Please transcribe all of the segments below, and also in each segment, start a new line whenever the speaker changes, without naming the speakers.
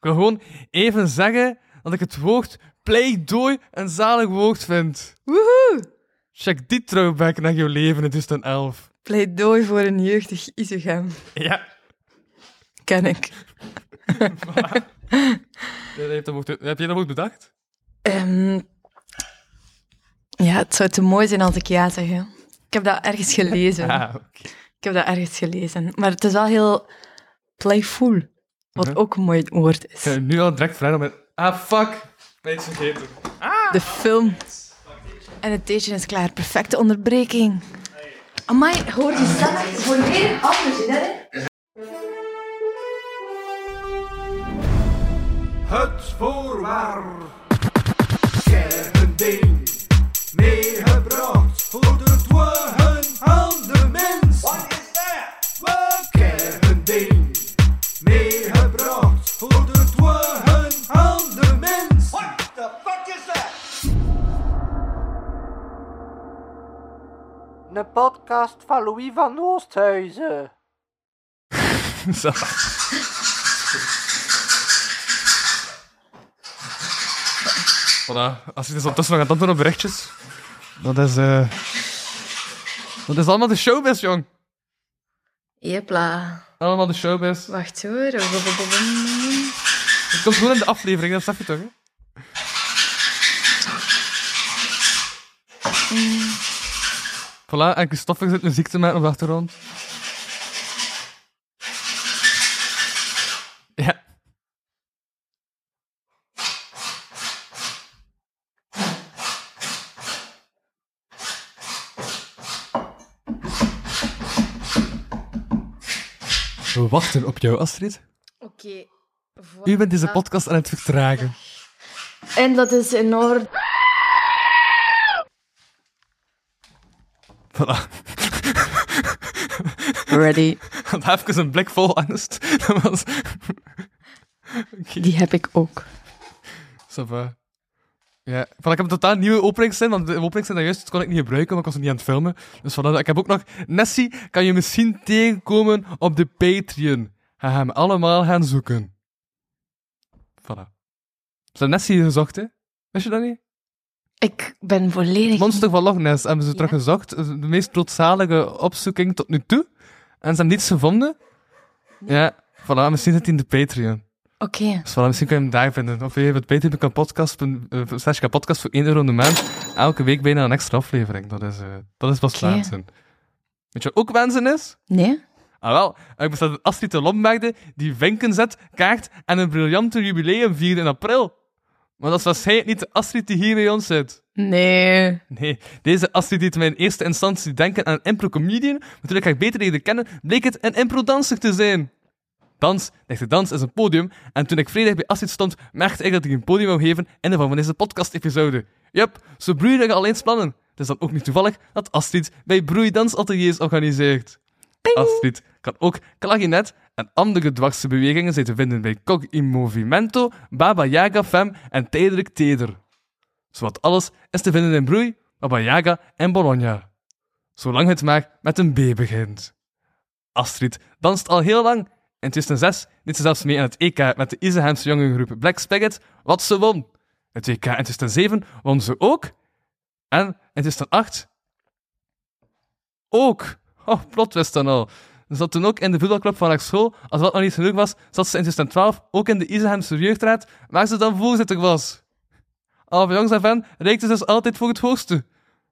wil gewoon even zeggen dat ik het woord pleidooi een zalig woord vind.
Woehoe!
Check die throwback naar jouw leven in 2011.
Pleidooi voor een jeugdig Isegem.
Ja.
Ken ik.
Heb jij dat woord bedacht?
Ehm, ja, het zou te mooi zijn als ik ja zeg. hè. Ik heb dat ergens gelezen.
Ah, oké.
Ik heb dat ergens gelezen. Maar het is wel heel playful. Wat
Mhm.
ook een mooi woord is.
Ik ga je nu al direct vragen om een... Ah, fuck. Ben je iets vergeten?
De film. En het theetje is klaar. Perfecte onderbreking. Amai, hoor je zelf volledig anders in, hè?
Het voorwaar. ding meegebracht. Goedert we hun aan de mens. Wat is dat? We ding meegebracht. Goedert we hun aan de mens. What the fuck is that?
Een podcast van Louis van Oosthuizen.
Zo. Voilà, als je dus ondertussen nog aan het antwoorden op berichtjes. Dat is... eh, Dat is allemaal de showbiz, jong.
Jepla.
Allemaal de showbiz.
Wacht hoor. Blablabla.
Het komt gewoon in de aflevering, dat snap je toch, hè? Voilà, en Christophe zit muziek te maken op de achtergrond. Ja. We wachten op jou, Astrid.
Oké.
U bent deze
voilà.
podcast aan het vertragen.
En dat is in orde.
Voilà.
Ready.
Want Even een blik vol angst. Dat was...
Die heb ik ook.
Ça va. Ja, van, ik heb een totaal nieuwe openingszin, want de openingszin dat juist kon ik niet gebruiken, want ik was nog niet aan het filmen. Dus vandaar dat- ik heb ook nog... Nessie kan je misschien tegenkomen op de Patreon. Ga hem allemaal gaan zoeken. Voilà. Ze hebben Nessie gezocht, hè? Wist je dat niet?
Ik ben volledig...
Het monster van Loch Ness hebben ze
Ja.
teruggezocht. Eh, De meest trotszalige opzoeking tot nu toe. En ze hebben niets gevonden. Ja, voilà, misschien zit hij in de Patreon.
Oké.
Dus voilà, misschien kun je hem daar vinden. Of je hebt patreon.com eh, podcast voor 1 euro in de maand. Elke week bijna een extra aflevering. Dat is, eh, dat is pas
Oké.
waanzin. Weet je wat ook waanzin is?
Nee?
Ah wel, ik bestaat een Astrid de Lombergde die vinken zet, kaart en een briljante jubileum viert in april. Maar dat is waarschijnlijk niet de Astrid die hier bij ons zit.
Nee.
Nee, deze Astrid deed mij in eerste instantie denken aan een impro-comedian, maar toen ik haar beter leerde kennen, bleek het een impro-danser te zijn. Dans, echte dans, is een podium, en toen ik vrijdag bij Astrid stond, merkte ik dat ik een podium wou geven in de vorm van deze podcast-episode. Jup, zo broeien er al eens plannen. Het is dan ook niet toevallig dat Astrid bij broeidansateliers organiseert. Astrid kan ook klarinet en andere dwarse bewegingen zijn te vinden bij Cog in Movimento, Baba Yaga Fem en Tijdelijk Teder. Zowat alles is te vinden in Broei, Baba Yaga en Bologna. Zolang het maar met een B begint. Astrid danst al heel lang. In 2006 deed ze zelfs mee aan het EK met de Isenhamse jongengroep Black Spigot, wat ze won. Het E EK in 2007 won ze ook. En in 2008 ook. Oh, plot wist dan al. Ze zat toen ook in de voetbalclub van haar school. Als dat nog niet genoeg was, zat ze in 2012 ook in de Isenhamse jeugdraad, waar ze dan voorzitter was. Al van jongs af aan reikte ze dus altijd voor het hoogste.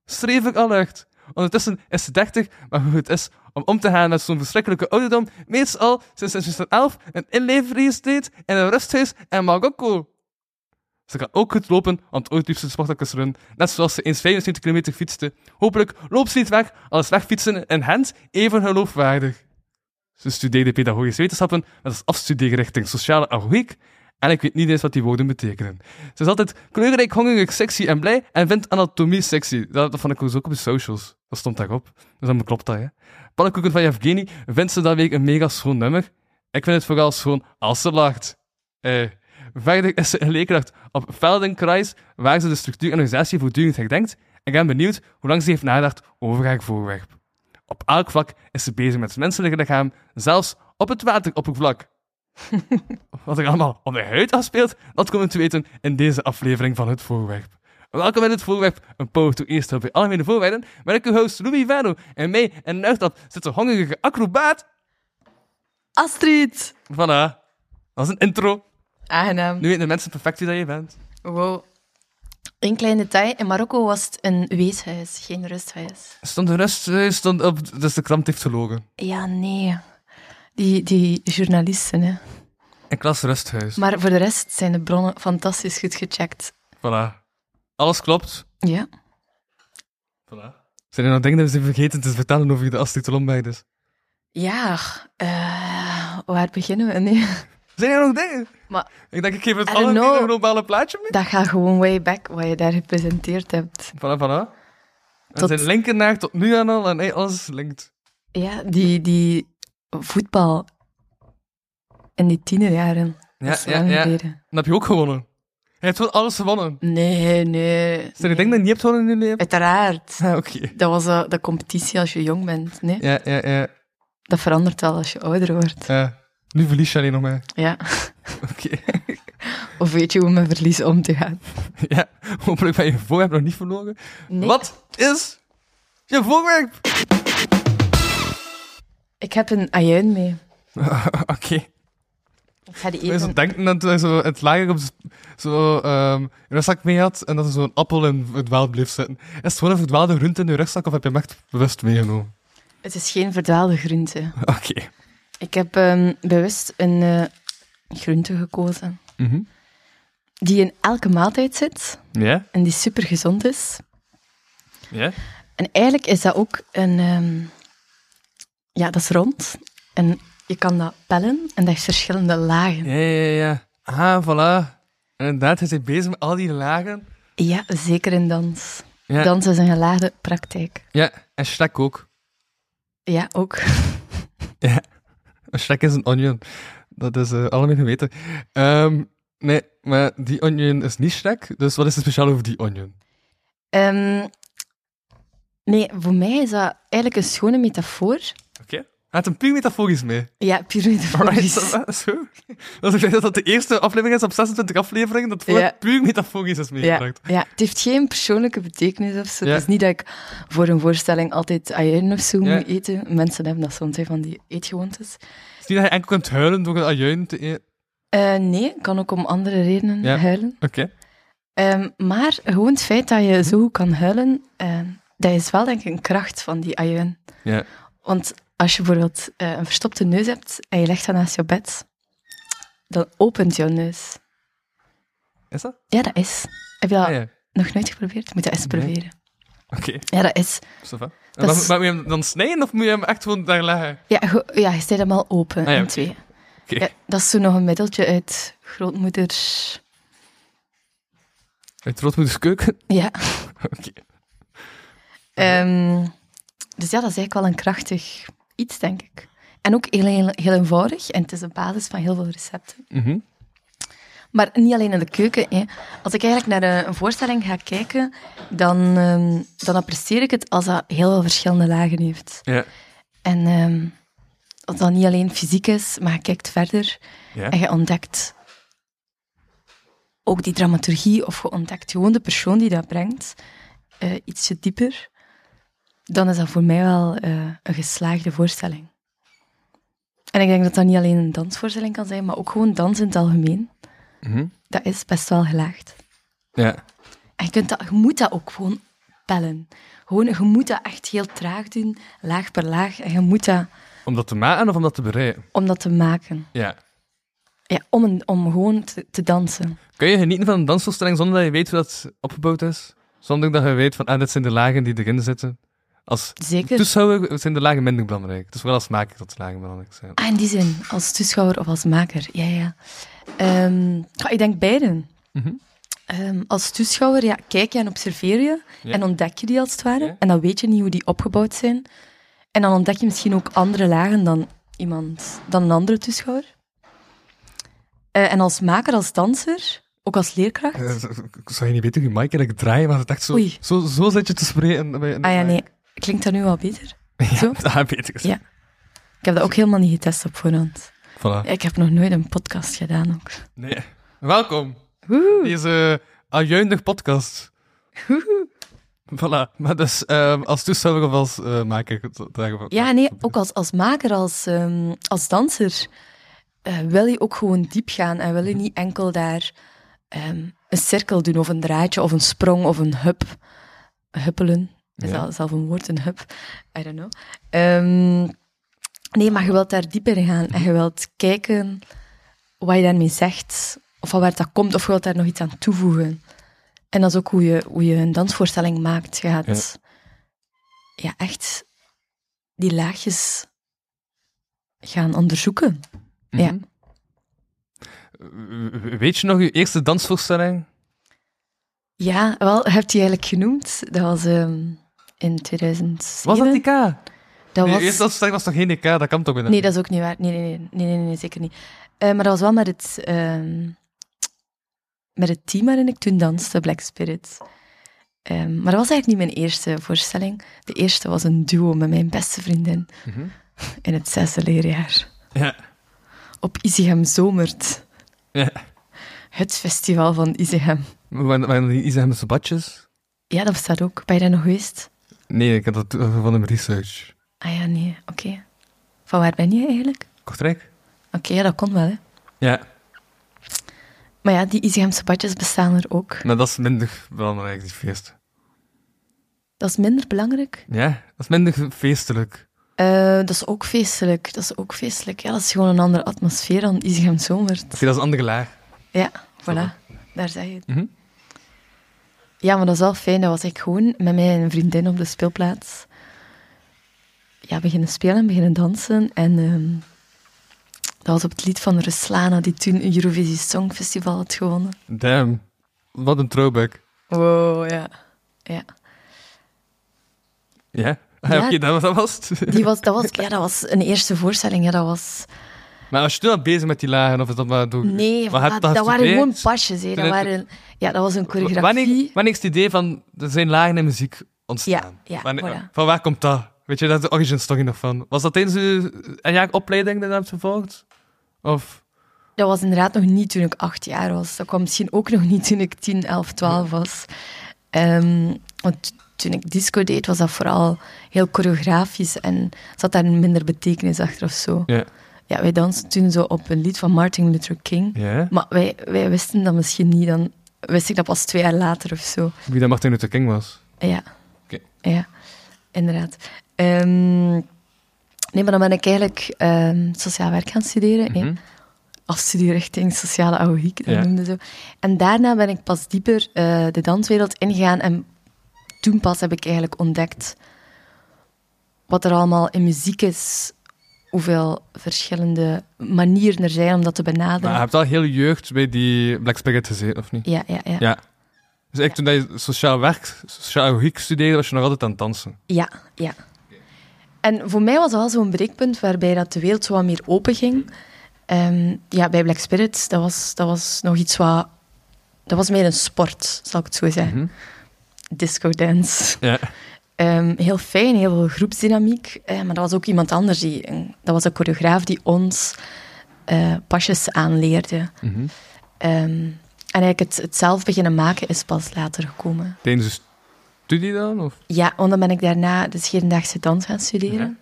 Schreef ik al echt. Ondertussen is ze 30, maar hoe het is om om te gaan met zo'n verschrikkelijke ouderdom, meestal sinds 2011 een inlevering deed in een rusthuis in Marokko. Ze kan ook goed lopen, want ooit liep ze de Spartacus Run, net zoals ze eens 75 kilometer fietste. Hopelijk loopt ze niet weg, al is wegfietsen in Gent even geloofwaardig. Ze studeerde pedagogische wetenschappen met als afstudeerrichting sociale agogiek en ik weet niet eens wat die woorden betekenen. Ze is altijd kleurrijk, hongerig, sexy en blij en vindt anatomie sexy. Dat, dat vond ik dus ook op de socials. Dat stond daarop. Dus dan klopt dat, hè. Pannenkoeken van Yevgeny vindt ze dat week een mega schoon nummer. Ik vind het vooral schoon als ze lacht. Eh, verder is ze een leerkracht op Feldenkrais, waar ze de structuur en organisatie voortdurend herdenkt. En ik ben benieuwd hoe lang ze heeft nagedacht over haar voorwerp. Op elk vlak is ze bezig met het menselijk lichaam, zelfs op het wateroppervlak. Wat ik allemaal op mijn huid afspeelt, dat komen we te weten in deze aflevering van Het Voorwerp. Welkom in Het Voorwerp, een power to eerst op bij algemene voorwaarden, waar ik uw host Louis Vano en mee en naast dat zit de hongerige acrobaat.
Astrid!
Voilà, dat is een intro.
Aangenaam.
Nu weten de mensen perfect wie dat je bent.
Wow. Een klein detail. In Marokko was het een weeshuis, geen rusthuis.
Stond de rest, eh, stond op, dus de krant heeft gelogen.
Ja, nee. Die, die journalisten, hè.
En klas rusthuis.
Maar voor de rest zijn de bronnen fantastisch goed gecheckt.
Voilà. Alles klopt.
Ja.
Voilà. Zijn er nog dingen die we zijn vergeten te vertellen over de Astrid Lomberg dus?
Ja, eh, waar beginnen we? Nee.
Zijn er nog dingen?
Maar-
Ik denk, ik geef het
I don't
algemeen
know.
een globale plaatje mee.
Dat gaat gewoon way back, wat je daar gepresenteerd hebt.
Voilà, voilà. We
Tot-
zijn linken naar tot nu aan al en hey, alles is linked.
Ja, die, die voetbal in die tienerjaren.
Ja,
dat is
ja,
lang
ja. Dan
geleden.
heb je ook gewonnen. Je hebt wel alles gewonnen.
Nee, nee.
Zijn er dingen die je niet hebt gewonnen in je leven?
Uiteraard.
Ja, oké.
Dat was eh, de competitie als je jong bent. Nee?
Ja, ja, ja,
Dat verandert wel als je ouder wordt.
ja. Nu verlies je alleen nog maar.
Ja.
Oké.
Of weet je hoe met verlies om te gaan?
Ja, hopelijk ben je voorwerp nog niet verloren.
Nee.
Wat is je voorwerp?
Ik heb een ajuin mee.
Oké.
Ik ga die
Mensen
even...
denken dat hij zo het lager op z- zo, ehm, een rugzak mee had en dat er zo'n appel in verdwaald bleef zitten. Is het gewoon een verdwaalde groente in je rugzak of heb je hem echt bewust meegenomen?
Het is geen verdwaalde groente.
Oké.
Ik heb ehm, bewust een eh, groente gekozen.
Mhm.
Die in elke maaltijd zit
Ja?
en die super gezond is.
Ja?
En eigenlijk is dat ook een. ehm, ja, dat is rond. En je kan dat pellen en dat heeft verschillende lagen.
Ja, ja, ja. Ah, voilà. Inderdaad, hij is bezig met al die lagen.
Ja, zeker in dans.
Ja.
Dans is een gelaagde praktijk.
Ja, en Shrek ook.
Ja, ook.
Shrek is een onion. Dat is eh, allemaal geweten. Ehm, nee, maar die onion is niet Shrek, dus wat is er speciaal over die onion?
Ehm, nee, voor mij is dat eigenlijk een schone metafoor.
Oké. Hij had een puur metaforisch mee.
Ja, puur metaforisch.
Alright, dat is goed. Dat is, ik denk dat dat de eerste aflevering is op 26 afleveringen, dat voor
Ja.
puur metaforisch is
Ja,
meegebracht.
ja, het heeft geen persoonlijke betekenis of zo.
Ja.
Het is niet dat ik voor een voorstelling altijd ajuin of zo
Ja.
moet eten. Mensen hebben dat soms, hè, van die eetgewoontes.
Het is niet dat je enkel kunt huilen door een ajuin te e- eten.
Eh, nee, kan ook om andere redenen
Ja.
huilen.
Oké.
Ehm, maar gewoon het feit dat je zo goed kan huilen, ehm, dat is wel denk ik een kracht van die ajuin.
Ja.
Want als je bijvoorbeeld eh, een verstopte neus hebt en je legt dat naast je bed, dan opent jouw neus.
Is dat?
Ja, dat is. Heb je dat
Ah, ja.
nog nooit geprobeerd? Moet dat eens
Nee.
proberen.
Oké,
Ja, dat is.
zo va.
Dat
Maar,
is-
maar moet je hem dan snijden of moet je hem echt gewoon daar leggen?
Ja, go- ja je snijdt hem al open
Ah, ja,
in
oké.
twee.
Oké.
Ja, dat is zo nog een middeltje uit grootmoeders...
Uit Roodmoeders keuken?
Ja.
Oké.
Ehm, dus ja, dat is eigenlijk wel een krachtig iets, denk ik. En ook heel, heel, heel eenvoudig. En het is de basis van heel veel recepten.
Mhm.
Maar niet alleen in de keuken. Hè. Als ik eigenlijk naar eh, een, een voorstelling ga kijken, dan, ehm, dan apprecieer ik het als dat heel veel verschillende lagen heeft.
Ja.
En ehm, als dat niet alleen fysiek is, maar je kijkt verder
Ja.
en je ontdekt ook die dramaturgie of je ontdekt gewoon de persoon die dat brengt, eh, ietsje dieper, dan is dat voor mij wel eh, een geslaagde voorstelling. En ik denk dat dat niet alleen een dansvoorstelling kan zijn, maar ook gewoon dans in het algemeen.
Mhm.
Dat is best wel gelaagd.
Ja.
En je, kunt dat, je moet dat ook gewoon pellen. Gewoon, je moet dat echt heel traag doen, laag per laag. En je moet dat,
Om dat te maken of om dat te bereiden?
om dat te maken.
Ja.
Ja, om, een- om gewoon te, te dansen.
Kun je genieten van een dansvoorstelling zonder dat je weet hoe dat opgebouwd is? Zonder dat je weet van, ah, dit zijn de lagen die erin zitten. Als
Zeker.
Dus- toeschouwer zijn de lagen minder belangrijk. Dus wel als maker dat de lagen belangrijk zijn.
Ah, in die zin, als toeschouwer of als maker. Ja, ja. Ehm, ja, ik denk beiden.
Mhm.
Ehm, als toeschouwer ja, kijk je en observeer je
Ja.
en ontdek je die als het ware.
Ja.
En dan weet je niet hoe die opgebouwd zijn. En dan ontdek je misschien ook andere lagen dan, iemand, dan een andere toeschouwer. Eh, en als maker, als danser, ook als leerkracht.
Eh, z- z- Zou je niet weten hoe je mic eigenlijk draait? Maar het echt zo,
Oei.
zo, zo zit je te spreken. bij-
ah ja, nee. Klinkt dat nu wel beter?
Ja,
Zo?
dat weet ik.
Ja. Eh. Ik heb dat ook helemaal niet getest op voorhand.
Voilà.
Ik heb nog nooit een podcast gedaan ook.
Nee. Welkom.
Woehoe.
Deze ajuindig podcast.
Woehoe.
Voilà. Maar dus ehm, als toesteller of als eh, maker? dat- daarvan-
Ja, nee, ook als, als maker, als, ehm, als danser eh, wil je ook gewoon diep gaan en wil je niet enkel daar ehm, een cirkel doen of een draadje of een sprong of een hup. Huppelen is
Ja.
dat zelf een woord, een hup. I don't know. Ehm, nee, maar je wilt daar dieper in gaan en je wilt kijken wat je daarmee zegt of van waar dat komt of je wilt daar nog iets aan toevoegen. En dat is ook hoe je, hoe je een dansvoorstelling maakt. Je gaat ja, echt die laagjes gaan onderzoeken.
Mhm.
Ja.
W- Eh, Weet je nog je eerste dansvoorstelling?
Ja, wel, je hebt die eigenlijk genoemd. Dat was ehm, in 2007.
Was dat die K?
Dat
nee,
was-
de eerste dansvoorstelling was toch geen DK? Dat kan toch binnen?
Nee, dat is ook niet waar. Nee, nee, nee, nee, nee, nee, zeker niet. Eh, maar dat was wel met het, ehm, met het team waarin ik toen danste, Black Spirit. Ehm, maar dat was eigenlijk niet mijn eerste voorstelling. De eerste was een duo met mijn beste vriendin
Mhm.
in het zesde leerjaar.
Ja.
Op Isigem Zomert.
Ja.
Het festival van Isigem.
Maar Waren, waren die Isa met badjes?
Ja, dat bestaat ook. Ben je daar nog geweest?
Nee, ik had dat eh, van een research.
Ah ja, nee, oké. Van waar ben je eigenlijk?
Kortrijk?
Oké, ja, dat kon wel, hè.
Ja.
Maar ja, die Izighemse badjes bestaan er ook.
Maar dat is minder belangrijk, die feest.
Dat is minder belangrijk.
Ja, dat is minder feestelijk.
Eh, dat is ook feestelijk. Dat is ook feestelijk. Ja, dat is gewoon een andere atmosfeer dan Izegem Zomert.
Oké, dat is een andere laag.
Ja, voilà. Daar zeg je het.
Mhm.
Ja, maar dat is wel fijn. Dat was ik gewoon met mijn vriendin op de speelplaats. Ja, beginnen spelen, beginnen dansen. En ehm, dat was op het lied van Ruslana, die toen een Eurovisie Songfestival had gewonnen.
Damn. Wat een throwback.
Wow, ja. Ja.
Ja? Ah,
Ja.
Oké, dat, was- dat was het.
Die was, dat, was, ja, dat was een eerste voorstelling. Ja, dat was...
Maar als je toen al bezig met die lagen, of is dat maar door...
Nee,
Maar
voilà,
had-
dat,
had
waren
gestudeerd?
gewoon pasjes. Hè. Dat
het-
waren, ja, dat was een choreografie.
Wanneer, wanneer is het idee van, er zijn lagen in muziek ontstaan?
Ja, ja,
Wanneer-
voilà.
Van waar komt dat? Weet je, dat is de origin story nog van. Was dat tijdens je een jaar opleiding dat je hebt gevolgd? Of...
Dat was inderdaad nog niet toen ik acht jaar was. Dat kwam misschien ook nog niet toen ik 10, 11, 12 was. Ehm, want toen ik disco deed, was dat vooral heel choreografisch en zat daar minder betekenis achter of zo.
Ja.
Ja, wij dansten toen zo op een lied van Martin Luther King.
Ja?
Maar wij, wij wisten dat misschien niet. Dan wist ik dat pas twee jaar later of zo.
Wie dat Martin Luther King was.
Ja.
Oké.
Ja, inderdaad. Ehm, nee, maar dan ben ik eigenlijk ehm, sociaal werk gaan studeren. hè.
Mhm.
Afstudie richting sociale agogiek, dat
Ja.
noemde zo. En daarna ben ik pas dieper eh, de danswereld ingegaan. En toen pas heb ik eigenlijk ontdekt wat er allemaal in muziek is. Hoeveel verschillende manieren er zijn om dat te benaderen.
Maar je hebt al heel je jeugd bij die Black Spirit gezeten, of niet?
Ja, ja, ja.
Ja. Dus eigenlijk toen dat je sociaal werk, sociaal werk studeerde, was je nog altijd aan het dansen.
Ja, ja. En voor mij was dat wel zo'n breekpunt waarbij dat de wereld zo wat meer open ging. Ehm, ja, bij Black Spirit, dat was, dat was nog iets wat... Dat was meer een sport, zal ik het zo zeggen. Disco dance.
Ja.
Ehm, heel fijn, heel veel groepsdynamiek. Eh, maar dat was ook iemand anders. Die, een- dat was een choreograaf die ons eh, pasjes aanleerde. Ehm, en eigenlijk het, het zelf beginnen maken is pas later gekomen.
Tijdens je studie dan? Of?
Ja, want dan ben ik daarna de Scherendaagse dans gaan studeren.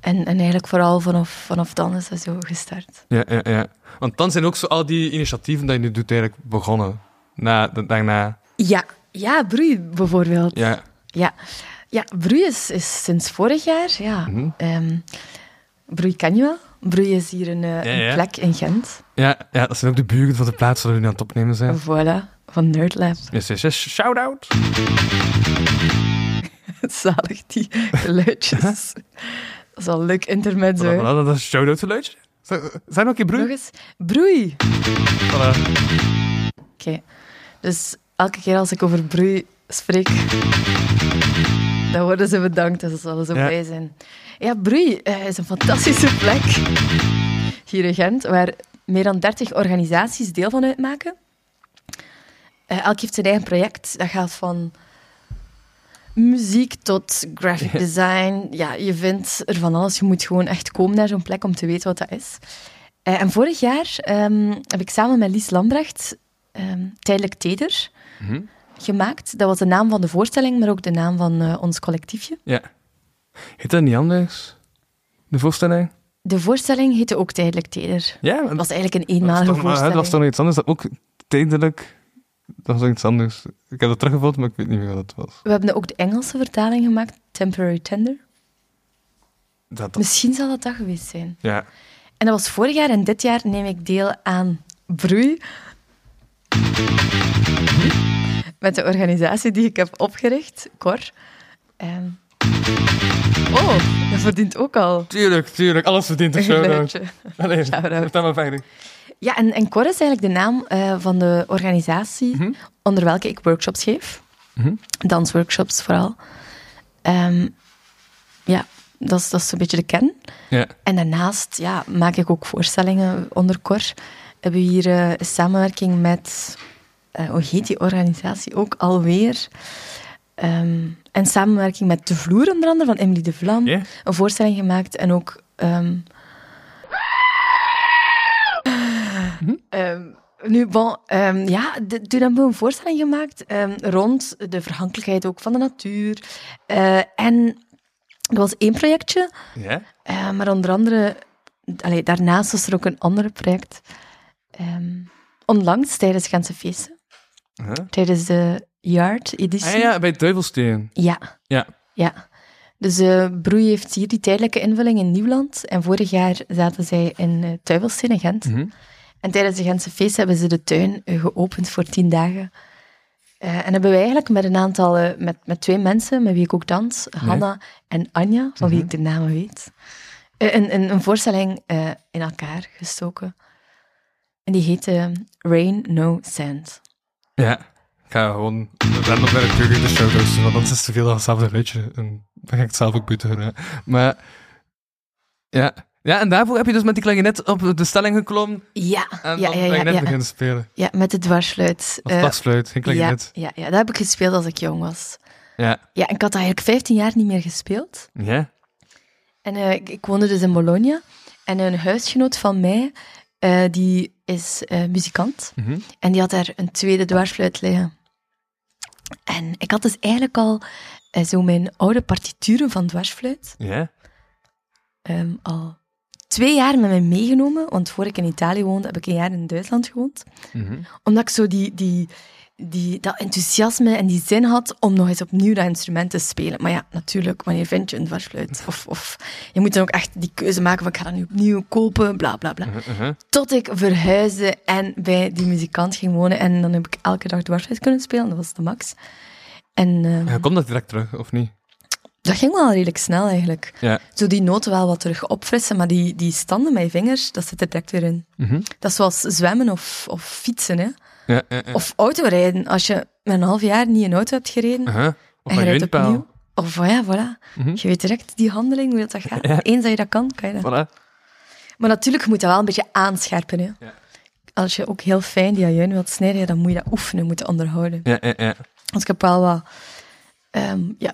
En, en eigenlijk vooral vanaf, vanaf dan is dat zo gestart.
Ja, ja, ja. Want dan zijn ook zo al die initiatieven die je nu doet eigenlijk begonnen. Na, da- daarna.
Ja, ja Broei bijvoorbeeld.
Ja.
Ja, ja Broei is, is sinds vorig jaar. Ja.
Mhm.
Ehm, Broei kan je wel. Broei is hier een, eh,
Ja,
een
ja.
plek in Gent.
Ja, ja, dat zijn ook de buren van de plaats waar we nu aan het opnemen zijn.
Voilà, van Nerdlab.
Yes, yes, yes. Shout-out.
Zalig, die geluidjes. Dat is wel een leuk intermezzo. hè.
Voilà, Dat is een shout-out geluidje. Zijn zijn ook je
Nog
broer?
eens. Broei.
Voilà.
Oké. Dus elke keer als ik over Brui spreek, dan worden ze bedankt en ze zullen zo
Ja.
blij zijn. Ja, Brui eh, is een fantastische plek hier in Gent, waar meer dan 30 organisaties deel van uitmaken. Eh, elk heeft zijn eigen project. Dat gaat van muziek tot graphic design. Ja, je vindt er van alles. Je moet gewoon echt komen naar zo'n plek om te weten wat dat is. Eh, en vorig jaar ehm, heb ik samen met Lies Lambrecht ehm, Tijdelijk Teder
Mhm.
gemaakt. Dat was de naam van de voorstelling, maar ook de naam van eh, ons collectiefje.
Ja. Heet dat niet anders? De voorstelling?
De voorstelling heette ook Tijdelijk Teder.
Ja,
Het
maar
was eigenlijk een
dat was
eenmalige
toch nog- hè, dat
voorstelling.
was toch nog iets anders. Dat ook tijdelijk... Dat was nog iets anders. Ik heb dat teruggevonden, maar ik weet niet meer wat het was.
We hebben ook de Engelse vertaling gemaakt, Temporary Tender.
Dat, dat-
Misschien zal dat dat geweest zijn.
Ja.
En dat was vorig jaar en dit jaar neem ik deel aan Broei. Met de organisatie die ik heb opgericht, Cor. Ehm. Oh, dat verdient ook al
Tuurlijk, tuurlijk. Alles verdient een
een
shout-out.
geluidje.
Allee,
Shout-out.
vertel maar verder.
Ja, en, en Cor is eigenlijk de naam eh, van de organisatie
Mhm.
onder welke ik workshops geef.
Mhm.
Dansworkshops vooral. Ehm, ja, dat is, dat is een beetje de kern.
Ja.
En daarnaast ja, maak ik ook voorstellingen onder Cor. Hebben we hier eh, een samenwerking met, eh, hoe heet die organisatie ook alweer? Ehm een samenwerking met De Vloer onder andere, van Emily de Vlam.
Ja?
Een voorstelling gemaakt en ook... ehm, ehm, nu, bon, ehm, ja, d- toen hebben we een voorstelling gemaakt ehm, rond de verhankelijkheid ook van de natuur. Eh, en er was één projectje
Ja?
eh, maar onder andere, allee, daarnaast was er ook een ander project. Ehm, onlangs tijdens Gentse Feesten,
Huh?
tijdens de Yard-editie.
Ah ja, bij Duivelsteen.
Ja.
Ja.
Ja. Dus eh Broei heeft hier die tijdelijke invulling in Nieuwland. En vorig jaar zaten zij in eh Tuivelsteen in Gent.
Mhm.
En tijdens de Gentse feest hebben ze de tuin eh, geopend voor tien dagen. Eh, en hebben wij eigenlijk met een aantal, eh, met, met twee mensen met wie ik ook dans, Hanna en Anja, van wie ik de namen weet, eh, een, een, een voorstelling eh, in elkaar gestoken. En die heette eh, Rain No Sand.
Ja. Ik ga gewoon random naar de de shoutouts doen, want anders is het te veel aan hetzelfde ritje. En dan ga ik het zelf ook buiten houden. Maar, ja. Ja, en daarvoor heb je dus met die klarinet op de stelling geklommen
Ja, ja,
en
ja,
dan
ja,
klarinet
ja,
beginnen spelen.
Ja, met de dwarsluit.
Als pasfluit, geen
Eh, ja,
klarinet.
ja, ja, dat heb ik gespeeld als ik jong was.
Ja.
Ja, en ik had dat eigenlijk 15 jaar niet meer gespeeld.
Ja?
En eh, ik, ik woonde dus in Bologna. En een huisgenoot van mij, eh, die is eh, muzikant.
Mhm.
En die had daar een tweede dwarsfluit liggen. En ik had dus eigenlijk al eh, zo mijn oude partituren van dwarsfluit
Ja?
ehm, al twee jaar met mij meegenomen. Want voor ik in Italië woonde, heb ik een jaar in Duitsland gewoond.
Mhm.
Omdat ik zo die, die, die, dat enthousiasme en die zin had om nog eens opnieuw dat instrument te spelen. Maar ja, natuurlijk, wanneer vind je een dwarsfluit? Of, of je moet dan ook echt die keuze maken van ik ga dat nu opnieuw kopen, bla bla bla.
Mhm, mhm.
Tot ik verhuisde en bij die muzikant ging wonen. En dan heb ik elke dag dwarsfluit kunnen spelen, dat was de max. En eh,
Ja, komt dat direct terug, of niet?
dat ging wel redelijk snel eigenlijk.
Ja.
Zo die noten wel wat terug opfrissen, maar die, die standen met je vingers, dat zit er direct weer in.
Mhm.
Dat is zoals zwemmen of, of fietsen, hè.
Ja, ja, ja.
Of autorijden. Als je met een half jaar niet een auto hebt gereden
Aha. Of
en je
een
rijdt opnieuw.
windpaal.
Of oh ja, voilà.
Mhm.
Je weet direct die handeling, hoe dat, dat gaat.
Ja.
Eens dat je dat kan, kan je dat.
Voilà.
Maar natuurlijk je moet dat wel een beetje aanscherpen. Hè.
Ja.
Als je ook heel fijn die ajuin wilt snijden, ja, dan moet je dat oefenen, moeten onderhouden.
Ja, ja, ja.
Want ik heb wel wat... ehm, ja,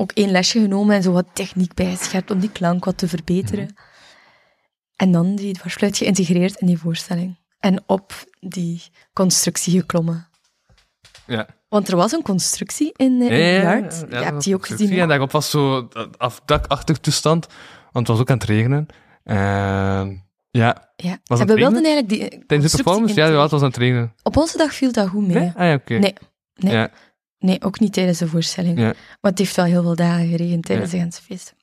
ook één lesje genomen en zo wat techniek bijgescherpt om die klank wat te verbeteren.
Mhm.
En dan die dwarsfluit geïntegreerd in die voorstelling. En op die constructie geklommen.
ja.
Want er was een constructie in, eh, in de yard.
ja,
Je
dat was
hebt die
een
ook gezien.
constructie. En daarop was zo dat afdakachtig toestand, want het was ook aan het regenen. En ja,
Ja. En
het
we wilden
regenen?
eigenlijk die eh,
tijdens de
constructie
performance, ja, ja,
integreren.
het was aan het regenen.
Op onze dag viel dat goed mee.
Nee? Ah ja, oké.
Nee, nee.
Ja,
Nee, ook niet tijdens de voorstelling.
Ja.
Want het heeft wel heel veel dagen geregend tijdens
Ja.
de ganse feesten.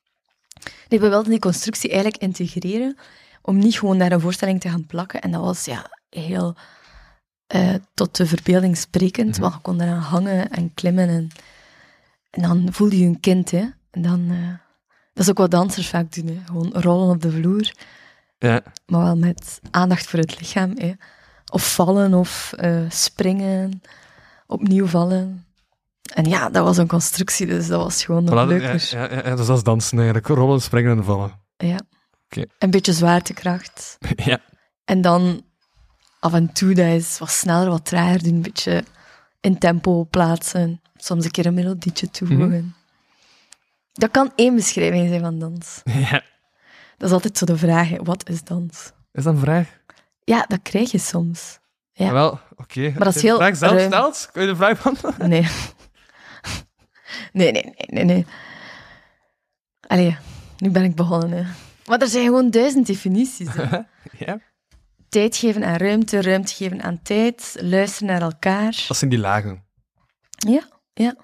Nee, we wilden die constructie eigenlijk integreren om niet gewoon naar een voorstelling te gaan plakken. En dat was ja, heel eh, tot de verbeelding sprekend,
Mhm.
want je kon eraan hangen en klimmen. En, en dan voelde je een kind, hè. En dan, eh, dat is ook wat dansers vaak doen, hè. Gewoon rollen op de vloer,
ja.
maar wel met aandacht voor het lichaam, hè. Of vallen, of eh, springen, opnieuw vallen. En ja, dat was een constructie, dus dat was gewoon nog
Voilà, ja,
leuker.
ja, ja, ja, dus dat is dansen eigenlijk. Rollen, springen en vallen.
Ja.
Oké.
Een beetje zwaartekracht.
ja.
En dan af en toe, dat is wat sneller,
Mhm.
wat trager doen. Een beetje in tempo plaatsen. Soms een keer een melodietje toevoegen. Dat kan één beschrijving zijn van dans.
Ja.
Dat is altijd zo de vraag, hè. wat is dans?
Is dat een vraag?
Ja, dat krijg je soms. Ja.
Wel, oké.
dat
Als
is
je
heel
de vraag zelf
ruim.
stelt, kun je de vraag beantwoorden?
Nee. Nee, nee, nee, nee, nee. Allee, nu ben ik begonnen. Hè. Maar er zijn gewoon duizend definities. hè.
Ja.
tijd geven aan ruimte, ruimte geven aan tijd, luisteren naar elkaar.
Dat zijn die lagen.
Ja, ja.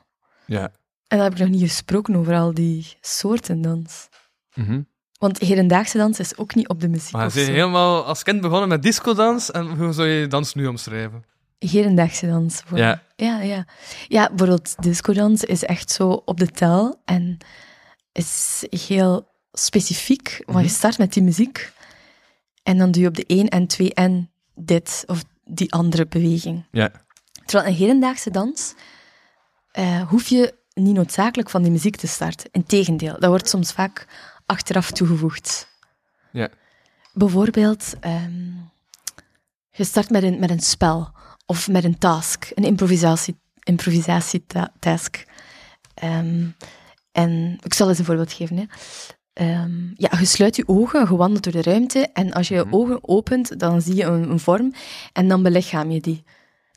Ja.
En daar heb ik nog niet gesproken over al die soorten dans.
Mhm.
Want hedendaagse dans is ook niet op de muziek.
Maar
of
ze zijn
zo.
helemaal als kind begonnen met discodans. En hoe zou je dans nu omschrijven?
Hedendaagse dans. Voor...
Ja.
ja, ja. Ja, bijvoorbeeld discodans is echt zo op de tel en is heel specifiek. Want
Mhm.
je start met die muziek en dan doe je op de 1 en 2 en dit of die andere beweging.
Ja.
Terwijl een hedendaagse dans eh, hoef je niet noodzakelijk van die muziek te starten. Integendeel, dat wordt soms vaak achteraf toegevoegd.
Ja.
Bijvoorbeeld, ehm, je start met een, met een spel of met een task, een improvisatie, improvisatietask. Ehm, en ik zal eens een voorbeeld geven. Hè. Ehm, ja, je sluit je ogen, je wandelt door de ruimte en als je je ogen opent, dan zie je een, een vorm en dan belichaam je die.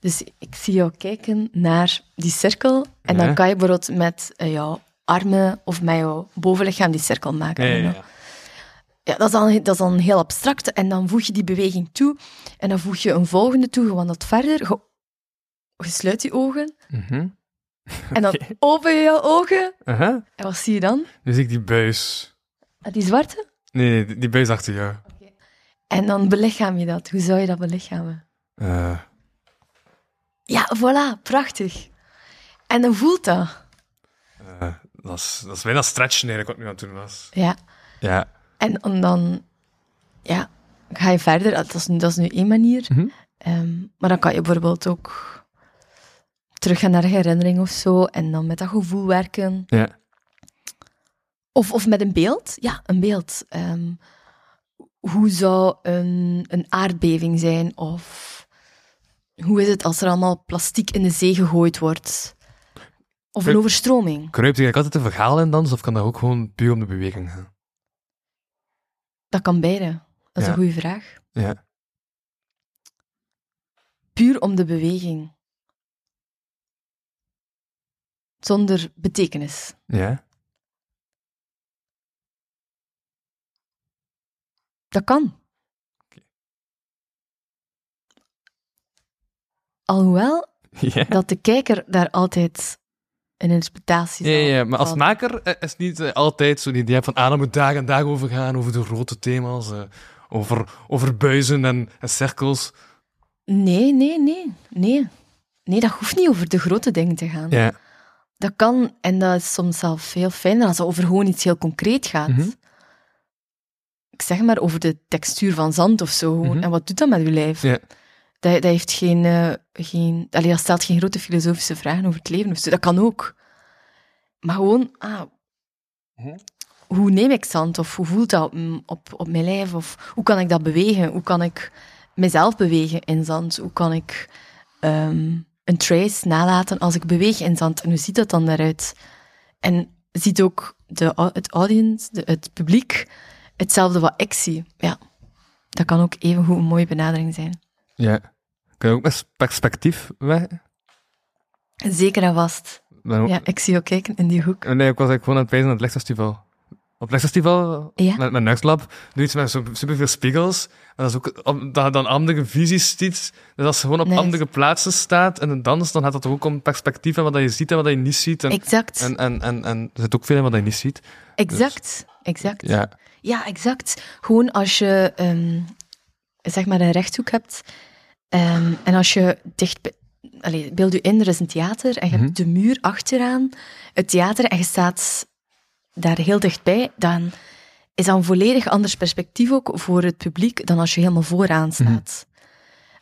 Dus ik zie jou kijken naar die cirkel en
Ja.
dan kan je bijvoorbeeld met eh, jouw armen of met jouw bovenlichaam die cirkel maken. I don't know. Ja, dat is, dan, dat is dan heel abstract. En dan voeg je die beweging toe. En dan voeg je een volgende toe. Je wandelt verder. Je, je sluit je ogen.
Mhm.
En dan
Oké.
open je je ogen.
Aha.
En wat zie je dan?
Nu zie ik die buis.
Ah, Die zwarte.
Nee, nee, die- die buis achter jou.
En dan belichaam je dat. Hoe zou je dat belichamen?
Eh,
Ja, voilà. Prachtig. En dan voelt dat.
eh, dat, is, dat is bijna stretchen eigenlijk wat ik nu aan het doen was.
Ja.
Ja.
En, en dan... Ja, ga je verder. Ah, Dat is, nu- dat is nu één manier.
Mhm.
Ehm, maar dan kan je bijvoorbeeld ook... Teruggaan naar een herinnering of zo. En dan met dat gevoel werken.
Ja.
Of, of met een beeld. Ja, een beeld. Ehm, hoe zou een, een aardbeving zijn? Of hoe is het als er allemaal plastiek in de zee gegooid wordt? Of een
Ik-
overstroming?
Kruipt je eigenlijk altijd een verhaal in dans, of kan dat ook gewoon puur om de beweging gaan?
Dat kan beide. Dat is
Ja.
een goede vraag.
Ja.
Puur om de beweging. Zonder betekenis.
Ja.
Dat kan. Alhoewel
Ja.
dat de kijker daar altijd een interpretatie
Ja,
zal
ja, maar als
van-
maker eh, is het niet eh, altijd zo'n idee van ah, daar moet dag en dag over gaan, over de grote thema's, eh, over, over buizen en, en cirkels.
Nee, nee, nee, nee. Nee, dat hoeft niet over de grote dingen te gaan.
Ja.
Dat kan, en dat is soms zelf heel fijner als het over gewoon iets heel concreet gaat.
Mhm.
Ik zeg maar over de textuur van zand of zo.
Mhm.
En wat doet dat met uw lijf?
Ja.
Dat, dat heeft geen... eh, geen allee, dat stelt geen grote filosofische vragen over het leven of zo. Dat kan ook. Maar gewoon... Ah,
Mhm.
Hoe neem ik zand? Of hoe voelt dat mm, op, op mijn lijf? Of hoe kan ik dat bewegen? Hoe kan ik mezelf bewegen in zand? Hoe kan ik ehm, een trace nalaten als ik beweeg in zand? En hoe ziet dat dan eruit? En ziet ook de, au- het audience, de- het publiek, hetzelfde wat ik zie? Ja, dat kan ook evengoed een mooie benadering zijn.
ja. Kun je ook met perspectief weg?
Zeker en vast.
Ben ook-
Ja, ik zie jou kijken in die hoek.
Nee, ik was eigenlijk gewoon aan het wijzen aan het Lexfestival. Op het Lexfestival,
Ja.
met, met Nuxlab, doe iets met zo- superveel spiegels. En dat is ook, om- dat je dan andere visies ziet. Dus als je gewoon op
Nice.
andere plaatsen staat en een dans, dan gaat dat er ook om perspectief en wat dat je ziet en wat dat je niet ziet. En,
Exact,
en, en, en, en er zit ook veel in wat dat je niet ziet.
exact, exact.
Ja.
Ja, exact. Gewoon als je ehm, zeg maar een rechthoek hebt ehm, en als je dicht. bij- Allee, beeld je in, er is een theater en je hebt de muur achteraan, het theater, en je staat daar heel dichtbij, dan is dat een volledig anders perspectief ook voor het publiek dan als je helemaal vooraan staat.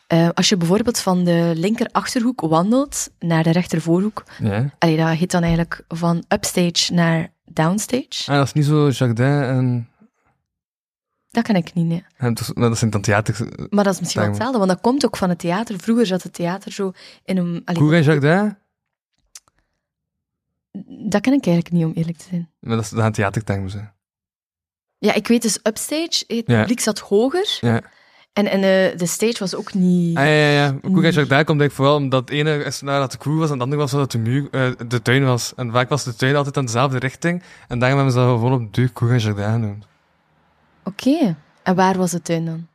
Eh, als je bijvoorbeeld van de linker achterhoek wandelt naar de rechter voorhoek,
ja.
allee, dat heet dan eigenlijk van upstage naar downstage.
En dat is niet zo Jardin en...
Dat kan ik niet, nee.
en dus- nou, dat zijn dan theater...
Maar dat is misschien wel
Daarom.
hetzelfde, want dat komt ook van het theater. Vroeger zat het theater zo in een... allee,
Koer en Jardin?
dat ken ik eigenlijk niet, om eerlijk te zijn.
Maar dat is aan theatertermen. hè.
Ja, ik weet dus upstage, het
Ja.
publiek zat hoger.
Ja.
En, en eh, de stage was ook niet...
Ah, ja, ja, ja. Koek en
Nee.
Jacques komt denk ik vooral omdat het ene is naar dat de koe was en het andere was dat de, muur, eh, de tuin was. En vaak was de tuin altijd aan dezelfde richting. En daarom hebben ze dat gewoon op duur Koek en Jacques genoemd.
Oké. En waar was de tuin dan?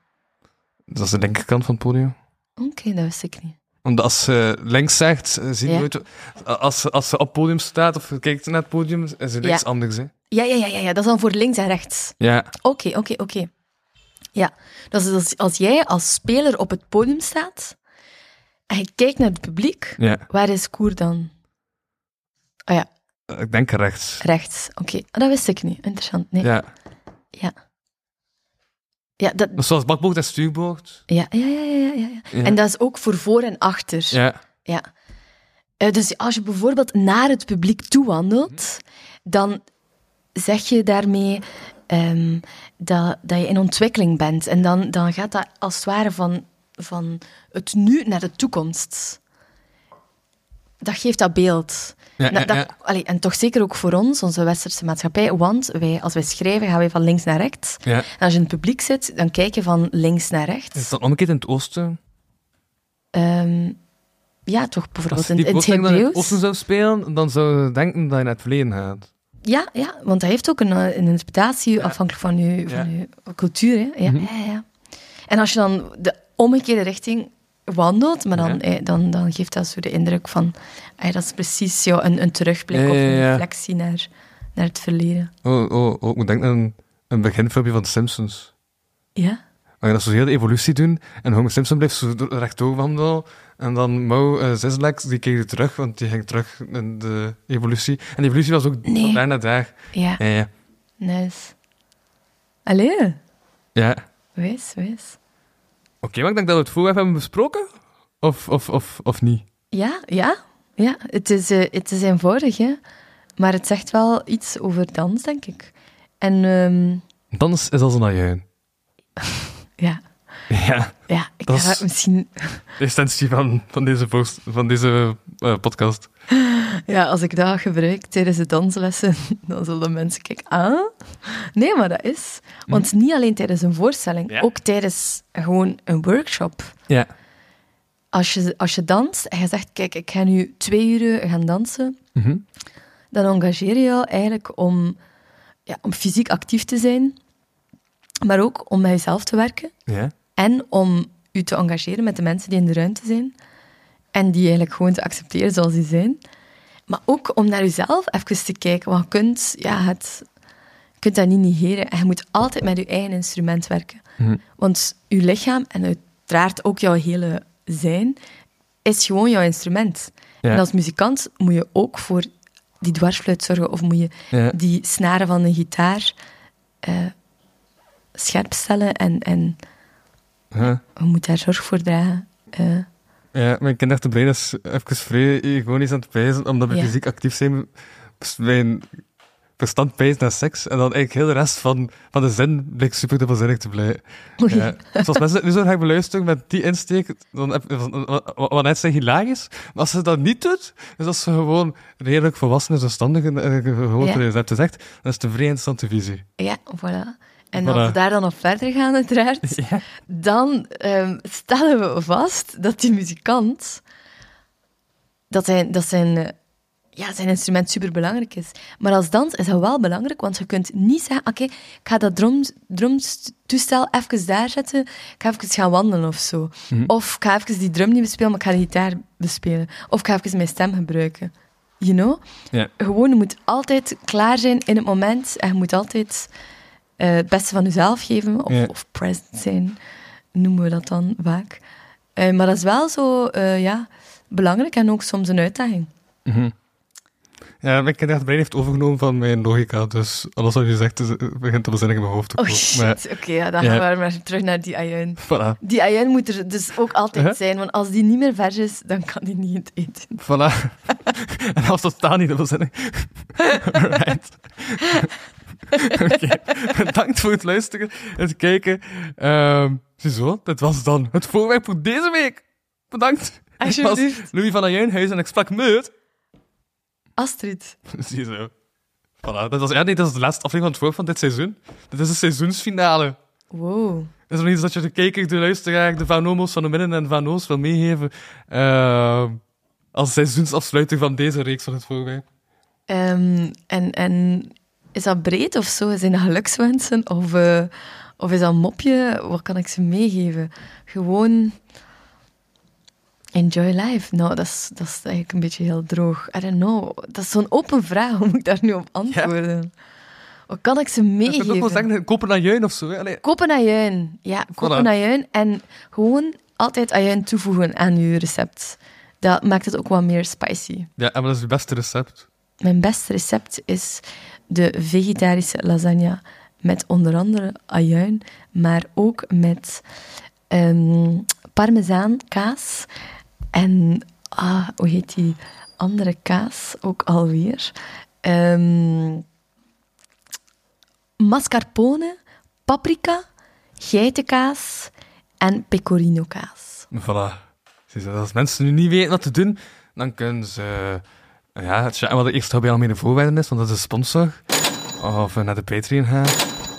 Dat is de linkerkant van het podium.
Oké, dat wist ik niet.
Omdat als ze links zegt, eh, zie je
Ja.
nooit... Als, ze- als ze op het podium staat of kijkt naar het podium, is er niks
Ja.
anders. Hè.
Ja, ja, ja, ja, ja, dat is dan voor links en rechts.
Ja.
Oké, oké, oké. Ja, dat is als, als jij als speler op het podium staat en je kijkt naar het publiek,
ja.
waar is Koer dan? Oh ja,
Eh, Ik denk rechts.
rechts. Oké, dat wist ik niet. Interessant, nee. Ja,
Ja.
dat,
Dus zoals bakboord en stuurboord.
ja, ja, ja, ja, ja, ja.
Ja.
En dat is ook voor voor en achter.
Ja.
Ja. Eh, dus als je bijvoorbeeld naar het publiek toewandelt,
Mhm.
dan zeg je daarmee ehm, dat, dat je in ontwikkeling bent. En dan, dan gaat dat als het ware van, van het nu naar de toekomst. Dat geeft dat beeld.
Ja,
Na-
ja,
dat-
ja.
allee, en toch zeker ook voor ons, onze westerse maatschappij. Want wij, als wij schrijven, gaan wij van links naar rechts.
ja.
En als je in het publiek zit, dan kijk je van links naar rechts.
Is dat omgekeerd in het oosten?
Ehm, ja, toch
Als
bijvoorbeeld
je
in,
die
in het
voorstelling dan in het
Hebreeuws.
oosten zou spelen, dan zou je denken dat je naar het verleden gaat.
Ja, ja, want dat heeft ook een, eh, een interpretatie afhankelijk van je,
Ja. Mhm.
van je cultuur. Hè? Ja, ja, ja. En als je dan de omgekeerde richting wandelt, maar dan,
Ja.
eh, dan, dan geeft dat zo de indruk van... eh, dat is precies ja, een, een terugblik
Ja, ja,
of een
ja.
reflectie naar, naar het verleden.
Oh, oh, oh, ik moet denken aan een, een beginfilmpje van de Simpsons.
Ja?
Waar je dat zo heel de evolutie doen en Homer Simpson blijft zo door- rechtdoor wandelen. En dan Mo eh Zizlek, die keerde terug, want die ging terug in de evolutie. En de evolutie was ook
Nee.
van daar naar daar.
Ja,
Ja, ja.
nice. Allee,
ja.
wees, wees.
Oké, maar ik denk dat we het voorwerp hebben besproken. Of, of, of, of niet?
Ja, ja, ja. Het is, eh, het is eenvoudig, hè. Maar het zegt wel iets over dans, denk ik. En ehm,
Dans is als een ajuin.
ja,
Ja,
ja, ik
Dat
ga
is-
misschien...
de essentie van, van deze, post, van deze eh, podcast.
Ja, als ik dat gebruik tijdens de danslessen, dan zullen mensen kijken, ah? Nee, maar dat is... Want niet alleen tijdens een voorstelling,
Mhm. Ja.
ook tijdens gewoon een workshop.
Ja.
Als je, als je danst en je zegt, kijk, ik ga nu twee uren gaan dansen,
Mhm.
dan engageer je jou eigenlijk om, ja, om fysiek actief te zijn, maar ook om met jezelf te werken
Ja.
en om je te engageren met de mensen die in de ruimte zijn en die eigenlijk gewoon te accepteren zoals die zijn. Maar ook om naar jezelf even te kijken, want je kunt, ja, het, je kunt dat niet negeren. En je moet altijd met je eigen instrument werken.
Mhm.
Want je lichaam en uiteraard ook jouw hele zijn is gewoon jouw instrument.
Ja.
En als muzikant moet je ook voor die dwarsfluit zorgen of moet je
Ja.
die snaren van een gitaar eh, scherp stellen en, en
Ja.
je moet daar zorg voor dragen. Eh,
Ja, mijn kindertebrein is even vrij ironisch aan het pijzen, omdat we
Ja.
fysiek actief zijn, is mijn verstand pijst naar seks, en dan eigenlijk heel de rest van, van de zin blijkt super dubbelzinnig te blijven.
oei.
Ja. Dus als mensen het nu zo graag beluisteren met die insteek, dan heb wat- wat net zijn hilarisch, maar als ze dat niet doet, dus als ze gewoon redelijk volwassen en verstandig en eh, gewoon
Ja.
ja. hebt gezegd, dan is het een vrij interessante visie.
Ja, voilà. En
Voilà.
als we daar dan op verder gaan, uiteraard,
Ja.
dan ehm, stellen we vast dat die muzikant, dat zijn, dat zijn, eh, ja, zijn instrument superbelangrijk is. Maar als dans is dat wel belangrijk, want je kunt niet zeggen, oké, ik ga dat drums, drumtoestel even daar zetten, ik ga even gaan wandelen of zo.
Mhm.
Of ik ga even die drum niet bespelen, maar ik ga de gitaar bespelen. Of ik ga even mijn stem gebruiken. You know?
Ja.
Gewoon, je moet altijd klaar zijn in het moment en je moet altijd eh, het beste van jezelf geven of,
Ja.
of present zijn, noemen we dat dan vaak. Eh, maar dat is wel zo eh, ja, belangrijk en ook soms een uitdaging.
Ja, mijn kindertebrein heeft overgenomen van mijn logica, dus alles wat je zegt is, begint dubbelzinnig in mijn hoofd te
Oh
komen. Maar-
shit, oké, ja, dan
Ja.
gaan we maar terug naar die ajuin.
Voilà,
Die ajuin moet er dus ook altijd
Huh?
zijn, want als die niet meer vers is, dan kan die niet in het eten.
voilà. en als dat totaal niet dubbelzinnig. Alright. Oké, bedankt voor het luisteren en het kijken. Ehm ziezo, dat was dan het voorwerp voor deze week. Bedankt. Ik was
Alsjeblieft.
Louis van Ajuinhuis en ik sprak met...
Astrid.
Zie je zo. Voilà. Dat was, ja, nee, dat is de laatste aflevering van het voor van dit seizoen. Dit is de seizoensfinale.
Wow.
Is er nog iets dat je de kijker, de luisteraar, de Van Omo's van de Midden en Van O's wil meegeven? ehm, als seizoensafsluiting van deze reeks van het voorbij.
Ehm, en, en is dat breed of zo? Zijn dat gelukswensen? Of, eh, of is dat een mopje? Wat kan ik ze meegeven? Gewoon enjoy life. Nou, dat is, dat is eigenlijk een beetje heel droog. I don't know. Dat is zo'n open vraag. Hoe moet ik daar nu op antwoorden? Wat kan ik ze
Je kunt ook wel
meegeven?
zeggen, kopen naar Juin of zo. hè. Allee,
Kopen ajuin. Ja, kopen ajuin. En gewoon altijd ajuin toevoegen aan je recept. Dat maakt het ook wat meer spicy.
Ja, en dat is het beste recept.
Mijn beste recept is de vegetarische lasagne met onder andere ajuin, maar ook met ehm parmezaan, kaas en ah, hoe heet die andere kaas ook alweer? Ehm, mascarpone, paprika, geitenkaas en pecorino kaas.
Voilà. Zie je, Als mensen nu niet weten wat te doen, dan kunnen ze... eh, Ja, het chatten wat de eerste hobby al mee de voorwaarden is, want dat is een sponsor. Of eh, naar de Patreon gaan.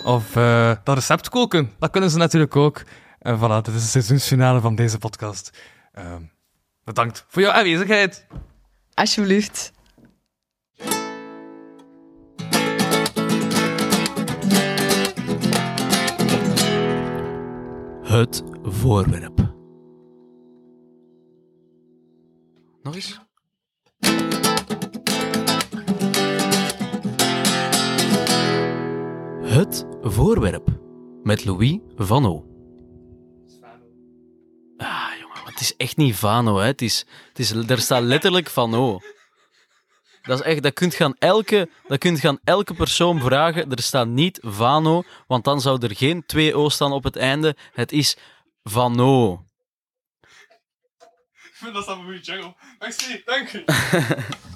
Of eh, dat recept koken. Dat kunnen ze natuurlijk ook. En voilà, dit is de seizoensfinale van deze podcast. Ehm, bedankt voor jouw aanwezigheid.
Alsjeblieft.
Het voorwerp. Nog eens? Het voorwerp met Louis Vano. Ah, jongen, maar het is echt niet Vano, hè. Het is, het is, er staat letterlijk Vano. Dat is echt, dat kunt gaan elke, dat kunt gaan elke persoon vragen. Er staat niet Vano, want dan zou er geen 2 O staan op het einde. Het is Vano.
Ik vind dat samen met jungle. Merci, dank u.